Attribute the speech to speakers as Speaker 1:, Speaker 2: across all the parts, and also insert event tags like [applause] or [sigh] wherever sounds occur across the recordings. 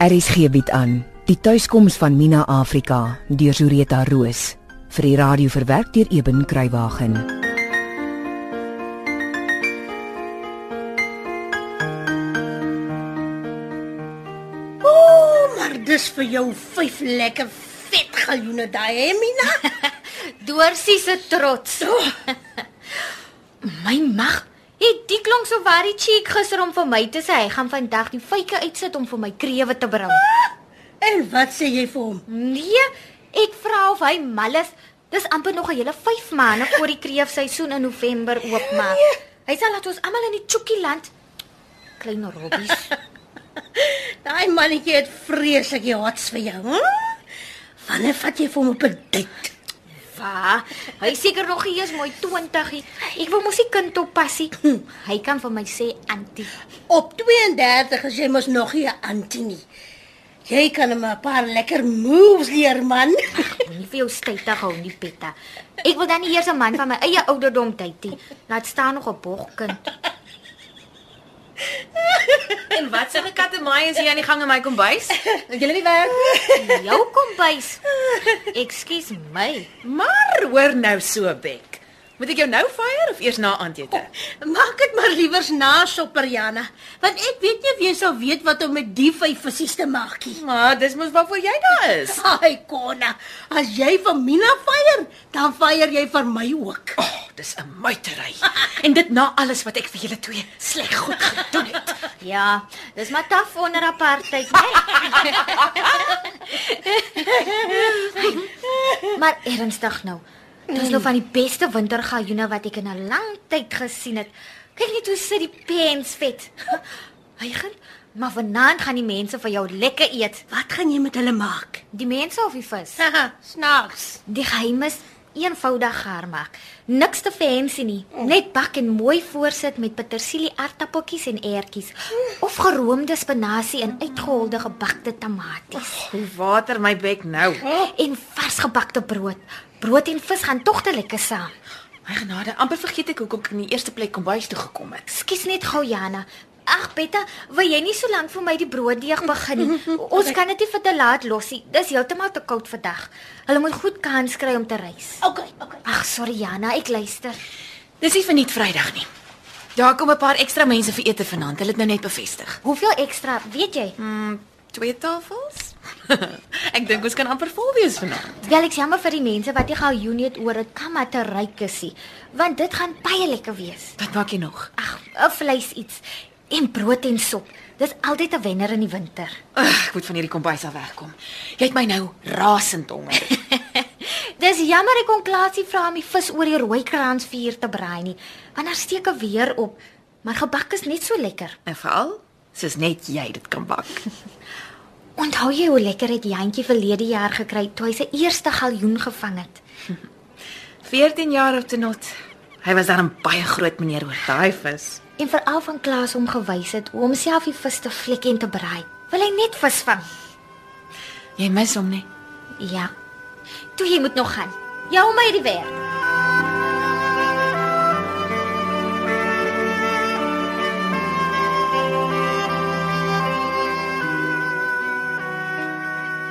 Speaker 1: RSG bied aan Die tuiskoms van Mina Afrika deur Zureta Roos vir die radio verwerk deur Eben Kruiwagen.
Speaker 2: O, Oh, maar dis vir jou vyf lekker vet galjoene daai, hè, Mina?
Speaker 3: Dorsie se trots. My mag, het die klonk so baie cheek gister om vir my te sê hy gaan vandag die fyke uitsit om vir my krewe te bring.
Speaker 2: En wat sê jy vir hom?
Speaker 3: Nee, ek vra of hy mal is. Dis amper nog 'n hele 5 maande voor die kreefseisoen in November oopmaak. Hy sal laat ons almal in die Chokieland klein robbies.
Speaker 2: Daai mannetjie het vreeslik die hots vir jou. Hm? Wanneer vat jy vir hom op 'n date?
Speaker 3: Va, hy seker nog nie eens mooi 20ie. Ek wil mos nie kind oppas nie. Hy kan vir my sê antie.
Speaker 2: Op 32 is jy mos nog nie 'n antie nie. Jy kan hom 'n paar lekker moves leer, man.
Speaker 3: Moenie vir jou stytig hou nie, Petta. Ek wil dan nie eers 'n man van my eie ouderdom date nie. Laat staan nog 'n bogkind.
Speaker 4: En wat sê gekatte maai as jy aan die gang in my kombuis? Dat jy nie werk.
Speaker 3: Jou kombuis. Ekskuus my.
Speaker 4: Maar hoor nou so bek. Moet ek jou nou fire of eers na aandete?
Speaker 2: [laughs] Maak dit maar liewers na sopper, Jana, want ek weet nie of jy sal weet wat om met die vyf visse te maak nie.
Speaker 4: Maar dis mos waarvoor jy daar is.
Speaker 2: Ai, Konna, as jy vir Mina vier, dan vier jy vir my ook.
Speaker 4: Oh, dis 'n muitery. En dit na alles wat ek vir julle twee sleg goed gedoen het.
Speaker 3: Ja, dis maar taaf onder apartheid, né? maar ernstig nou. Dis nou van die beste wintergajoene wat ek in 'n lang tyd gesien het. Kyk net hoe sit die pens vet. Hy gaan maar vanaand gaan die mense vir jou lekker eet.
Speaker 2: Wat gaan jy met hulle maak?
Speaker 3: Die mense of die vis?
Speaker 2: Haha, snaaks.
Speaker 3: Die geheim is eenvoudig gaar maak. Niks te fancy nie. Net bak en mooi voorsit met petersilie aartappeltjies en eertjies of geroomde spinasie en uitgeholde gebakte tamaties
Speaker 4: Hoe water my bek nou.
Speaker 3: en varsgebakte brood. Brood en vis gaan tog te lekker saam.
Speaker 4: My genade, amper vergeet ek hoekom ek in die eerste plek kombuis toe gekom het.
Speaker 3: Skus net gou Jana. Ag Betta, wil jy nie so lank vir my die brooddeeg begin nie? Ons kan dit nie vir te laat los nie. Dis heeltemal te koud vandag. Hulle moet goed kans kry om te reis.
Speaker 2: Okay, okay.
Speaker 3: Ag sorry Jana, ek luister.
Speaker 4: Dis nie verniet Vrydag nie. Daar kom 'n paar ekstra mense vir ete vanaand. Hulle het nou net bevestig.
Speaker 3: Hoeveel ekstra, weet jy?
Speaker 4: Twee tafels? [laughs] ek dink ons kan amper vol wees vanaand.
Speaker 3: Wel ek is jammer vir die mense wat nie gou Junie het oor 'n kamma te ryk is nie, want dit gaan baie lekker wees.
Speaker 4: Wat maak jy nog?
Speaker 3: Ag, 'n vleis iets en brood en sop. Dis altyd 'n wenner in die winter. [laughs]
Speaker 4: Ugh, ek moet van hierdie kombuis af wegkom. Jy het my nou rasend honger.
Speaker 3: Dis jammer ek kon Klasie vra om die vis oor die rooi kransvuur te braai nie, want daar steek 'n weer op. Maar gebak is net so lekker.
Speaker 4: en veral soos net jy dit kan bak. [laughs]
Speaker 3: Onthou jy hoe lekker het Jantjie verlede jaar gekry toe hy sy eerste galjoen gevang het?
Speaker 4: 14 jaar op te not. Hy was dan 'n baie groot meneer oor daai vis.
Speaker 3: En veral van Klaas hom gewys het hoe om self die vis te fliek en te braai. Wil hy net vis vang?
Speaker 4: Jy mis hom nie.
Speaker 3: Ja. Toe jy moet nog gaan. Jou my die weer.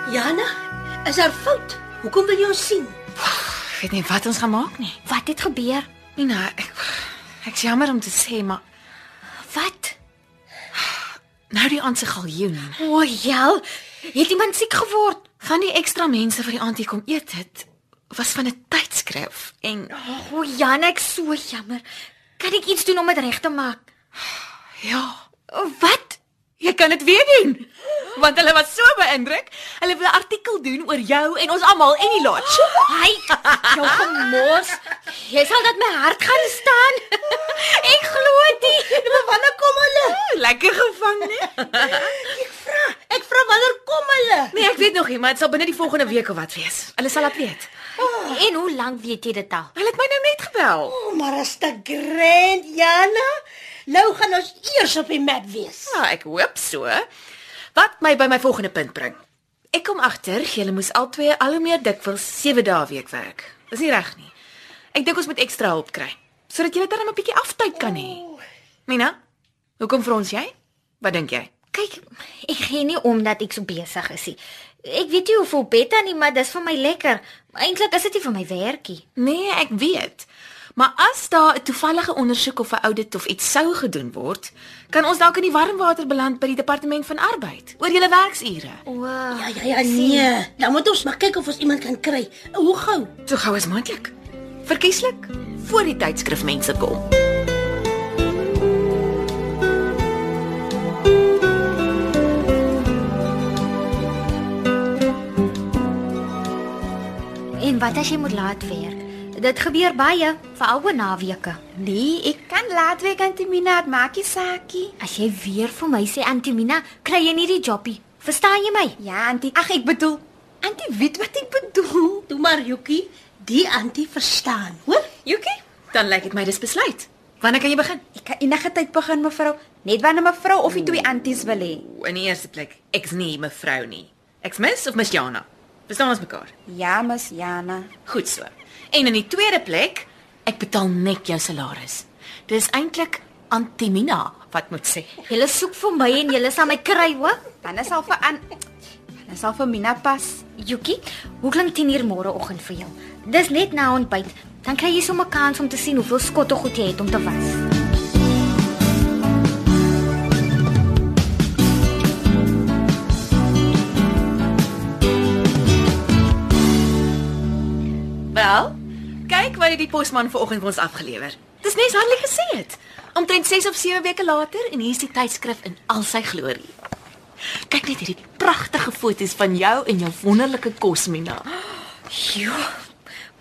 Speaker 2: Jana, is daar fout? Hoekom wil jy ons sien?
Speaker 4: Ek weet nie wat ons gaan maak nie.
Speaker 3: Wat het gebeur?
Speaker 4: Nina, Nee, nou, ek ek's jammer om te sê, maar
Speaker 3: Wat?
Speaker 4: nou die aand se galjoen
Speaker 3: O, oh, jel. Het iemand siek geword?
Speaker 4: van die ekstra mense vir die aand hier kom eet het was van 'n tydskrif en
Speaker 3: O, oh, Jan, ek so jammer. Kan ek iets doen om dit reg te maak?
Speaker 4: ja,
Speaker 3: O, Wat?
Speaker 4: Jy kan dit weer doen. Want hulle was so beïndruk. Hulle wil 'n artikel doen oor jou en ons almal en die lodge.
Speaker 3: Hy jou gemors. Jy sal dat my hart gaan staan. ek glo dit.
Speaker 2: Maar wanneer kom hulle?
Speaker 4: Lekker gevang, nee. né?
Speaker 2: Vra, ek vra wanneer kom hulle?
Speaker 4: Nee, ek weet nog nie, maar dit sal binne die volgende week of wat wees. Hulle sal dit weet.
Speaker 3: En hoe lank weet jy dit al?
Speaker 4: Hulle het my nou net gebel.
Speaker 2: O, maar as te grand, Jana. Nou gaan ons eers op die map wees.
Speaker 4: Ja, ek hoop so. Wat my by my volgende punt bring. Ek kom agter julle moes albei al hoe meer dikwels 7 dae week werk. Dis nie reg nie. Ek dink ons moet ekstra hulp kry sodat julle darem 'n bietjie aftyd kan hê. Mina, hoekom vra ons jy? Wat dink jy?
Speaker 3: Kyk, ek gee nie om dat ek so besig is nie. Ek weet nie hoeveel betta nie, maar dis vir my lekker. Eintlik is dit nie vir my werkie.
Speaker 4: Nee, ek weet. Maar as daar 'n toevallige ondersoek of 'n audit of iets sou gedoen word, kan ons dalk in die warm water beland by die departement van arbeid oor julle werksure.
Speaker 3: Wow.
Speaker 2: Ja ja ja nee, dan moet ons maar kyk of ons iemand kan kry. Hoe gou?
Speaker 4: So gou as moontlik. Verkieslik voor die tydskrif mense kom.
Speaker 3: En wat as jy moet laat werk? Dit gebeur baie, veral oor naweke.
Speaker 5: Nee, ek kan laat werk aan Timina, dit maak nie saakie.
Speaker 3: As jy weer vir my sê Antimina, kry jy nie die jobie. Verstaan jy my?
Speaker 5: Ja, antie. Ag, ek bedoel, antie weet wat ek bedoel.
Speaker 2: Toe maar Yuki, die antie verstaan, hoor?
Speaker 4: Jukie, dan lyk dit my dis besluit. Wanneer kan jy begin?
Speaker 5: Ek kan enige tyd begin, mevrou, net wanneer mevrou of die twee anties wil hê.
Speaker 4: In die eerste plek, ek's nie mevrou nie. Ek's mis of mis Jana. Verstaan ons mekaar?
Speaker 5: Ja, Ms. Jana.
Speaker 4: Goed so. En in die tweede plek, ek betaal net jou salaris. Dis eintlik Antimina wat moet sê.
Speaker 3: Jy soek vir my en jy sal my kry, hoor?
Speaker 5: Dan is al vir aan Dan is al vir Mina pas.
Speaker 3: Yuki, hoe klink 10 uur môreoggend vir jou? Dis net na ontbyt. Dan kry jy sommer kans om te sien hoeveel skotte goed jy het om te was.
Speaker 4: Wel, kyk wat die posman vanoggend vir ons afgelewer. Dis net Hanlie gesê het. Omtrent 6 of 7 weke later en hier's die tydskrif in al sy glorie. Kyk net hierdie pragtige foto's van jou en jou wonderlike kos, Mina.
Speaker 3: Jo,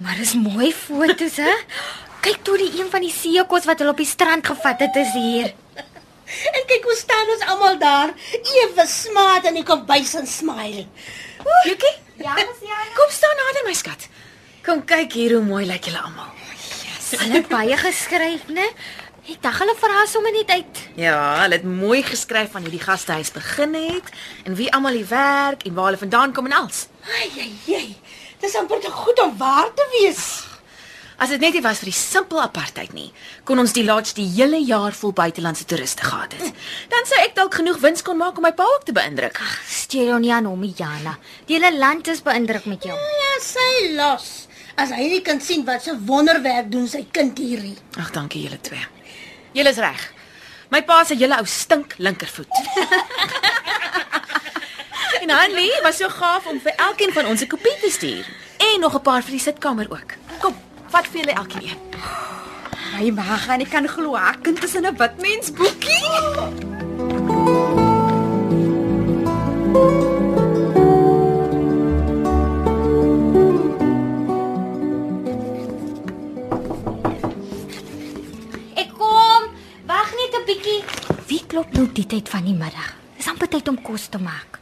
Speaker 3: maar dis mooi fotos, hè? Kyk toe die een van die seekos wat hulle op die strand gevat het is hier.
Speaker 2: En kyk hoe staan ons almal daar, ewe smaat in die kombuis en smile.
Speaker 4: Jukie,
Speaker 5: Ja, Ms. Jana.
Speaker 4: kom staan nader my skat. Kom kyk hier hoe mooi lyk julle almal.
Speaker 3: Hulle het baie geskryf, né? Ek dink hulle vra sommer net uit.
Speaker 4: Ja, hulle het mooi geskryf van hoe die gastehuis begin het en wie almal hier werk en waar hulle vandaan kom en alles.
Speaker 2: Ai ai ai. Dis amper te goed om waar te wees.
Speaker 4: As dit net nie was vir die simpel apartheid nie, kon ons die lodge die hele jaar vol buitelandse toeriste gehad het. Dan sou ek dalk genoeg wins kon maak om my pa ook te beïndruk.
Speaker 3: Steur jou nie aan hom, nie, Jana. Die hele land is beïndruk met jou.
Speaker 2: Ja, sy los. As hy nie kan sien wat 'n wonderwerk doen sy kind hierdie.
Speaker 4: Ag, dankie julle twee. Julle is reg. My pa se hele ou stink
Speaker 5: [laughs]
Speaker 4: linkervoet. en Hanlie was so gaaf om vir elkeen van ons 'n kopie te stuur en nog 'n paar vir die sitkamer ook. Kom, vat vir julle elkeen een.
Speaker 5: Hy mag aan, ek kan glo haar kind is in 'n wit mens boekie.
Speaker 3: Ek kom. Wag net 'n bietjie. Wie klop nou die tyd van die middag? Dis amper tyd om kos te maak.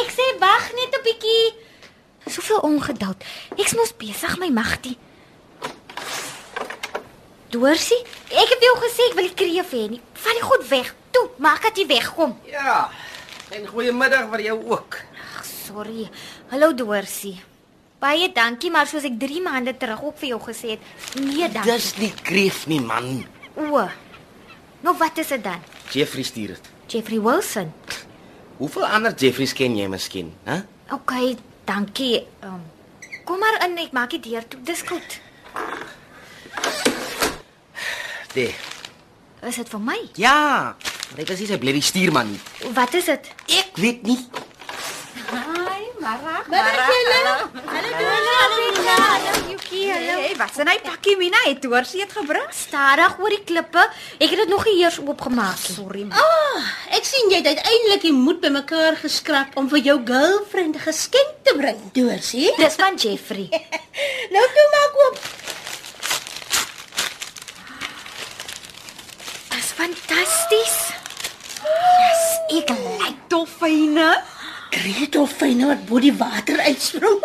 Speaker 3: Ek sê wag net 'n bietjie. Soveel ongeduld. Ek's mos besig my magtie. Dorsie, ek het jou gesê ek wil die kreef hê nie. Vat die goed weg. Toe, maak dat jy wegkom.
Speaker 6: Ja. En goeiemiddag vir jou ook.
Speaker 3: Ag, sorry. Hallo Dorsie. Baie dankie, maar soos ek 3 maande terug ook vir jou gesê het, nee dankie.
Speaker 6: Dis nie kreef nie, man.
Speaker 3: O. Nou wat is dit dan?
Speaker 6: Jeffrey stuur dit.
Speaker 3: Jeffrey Wilson.
Speaker 6: Hoeveel ander Jeffreys ken jy miskien, hè?
Speaker 3: OK, dankie. Um, kom maar in, ek maak die deur toe. Dis goed.
Speaker 6: Nee.
Speaker 3: Is dit vir my?
Speaker 6: Ja. Maar ek is nie sy blerrie stuurman nie.
Speaker 3: Wat is dit?
Speaker 6: Ek weet nie.
Speaker 5: Hi, Marag.
Speaker 2: Middag julle. Hallo Dona.
Speaker 3: Hallo Yuki,
Speaker 5: Hey, wat s'n hy pakkie Mina het doorsee het gebring?
Speaker 3: Stadig oor die klippe. Ek het dit nog nie eers oopgemaak nie.
Speaker 5: Sorry, ma.
Speaker 2: Ah, ek sien jy het uiteindelik die moed bymekaar geskrap om vir jou girlfriend 'n geskenk te bring, Dorsie.
Speaker 3: Dis van Jeffrey.
Speaker 2: [laughs] Nou toe maak oop.
Speaker 3: Dis fantasties. Yes, ek like.
Speaker 5: Dolfyne.
Speaker 2: Kreet of fyne wat bo die water uitspring.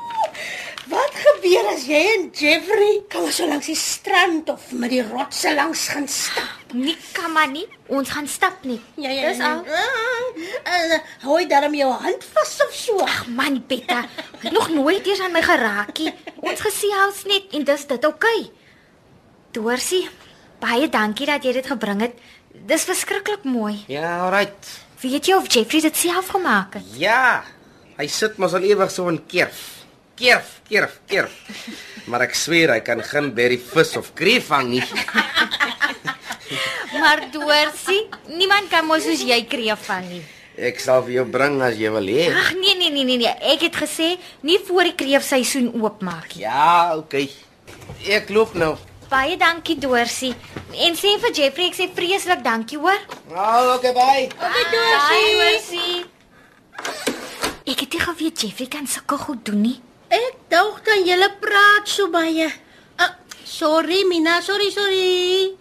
Speaker 2: [laughs] wat gebeur as jy en Jeffrey kom so langs die strand of met die rotse langs gaan stap?
Speaker 3: Nie kan maar nie. Ons gaan stap nie.
Speaker 2: Ja,
Speaker 3: Dis al.
Speaker 2: Uh, hou daarom jou hand vas of so.
Speaker 3: Ag man, Betta. Hy het nog nooit eers aan my geraakie. Ons gesels net en dis dit oukei. Okay. Dorsie, baie dankie dat jy dit gebring het. Dis verskriklik mooi.
Speaker 6: Ja, alright.
Speaker 3: Weet jy of Jeffrey dit self gemaak het?
Speaker 6: Ja. Hy sit mos al ewig so in kerf. Kerf, kerf, kerf. Maar ek sweer hy kan geen berry vis of kreef vang nie.
Speaker 3: Maar Dorsie, niemand kan mos soos jy kreef van nie.
Speaker 6: Ek sal vir jou bring as jy wil hê.
Speaker 3: Ag nee nee nee nee nee, ek het gesê nie voor die kreefseisoen oopmaak nie.
Speaker 6: Ja, okay. Ek loop nou.
Speaker 3: Baie dankie Dorsie en sê vir Jeffrey ek sê vreeslik dankie hoor.
Speaker 6: Al Ah, okay, bye.
Speaker 3: Dankie Dorsie. Dorsie. Ek het nie geweet Jeffrey kan sulke goed doen nie.
Speaker 2: Ek dink dan julle praat so baie. Ah, sorry Mina, sorry, sorry.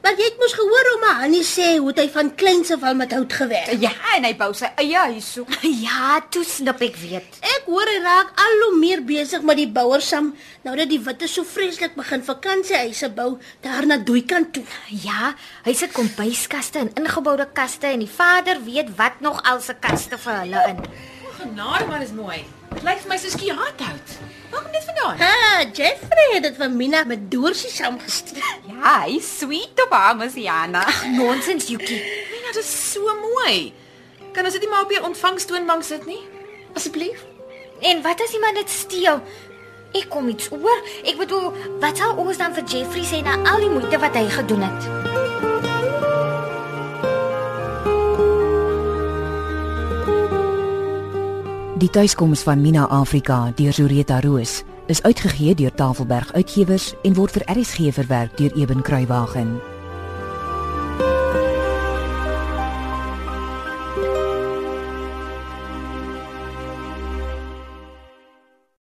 Speaker 2: Maar jy het mos gehoor hoe my Hannie sê hoe hy van kleins af al met hout gewerk.
Speaker 5: Ja, en hy bou sy eie huis so.
Speaker 3: [laughs] Ja, toe snap ek weet.
Speaker 2: Ek hoor hy raak al hoe meer besig met die bouers saam nou dat die witte so vreeslik begin vakansiehuise bou daar na Doeikant toe.
Speaker 3: Ja, hy sit kombuiskaste en ingeboude kaste en die vader weet wat nog al se kaste vir hulle in.
Speaker 4: Genade, maar is mooi. Dit lyk vir my soos skiaathout. Waar kom dit vandaan?
Speaker 2: Ha, Jeffrey het dit vir Mina met Dorsie saamgestuur.
Speaker 5: Ja, hy is sweet op haar, Mosiana.
Speaker 3: Nonsens, Yuki.
Speaker 4: Mina, dit is so mooi. Kan ons dit nie maar op 'n ontvangstoonbank sit nie? Asseblief.
Speaker 3: En wat as iemand dit steel? Ek kom iets oor. Ek bedoel, wat sal ons dan vir Jeffrey sê na al die moeite wat hy gedoen het?
Speaker 1: Die tuiskoms van Mina Afrika deur Zureta Roos is uitgegee deur Tafelberg Uitgewers en word vir RSG verwerk deur Eben Kruiwagen.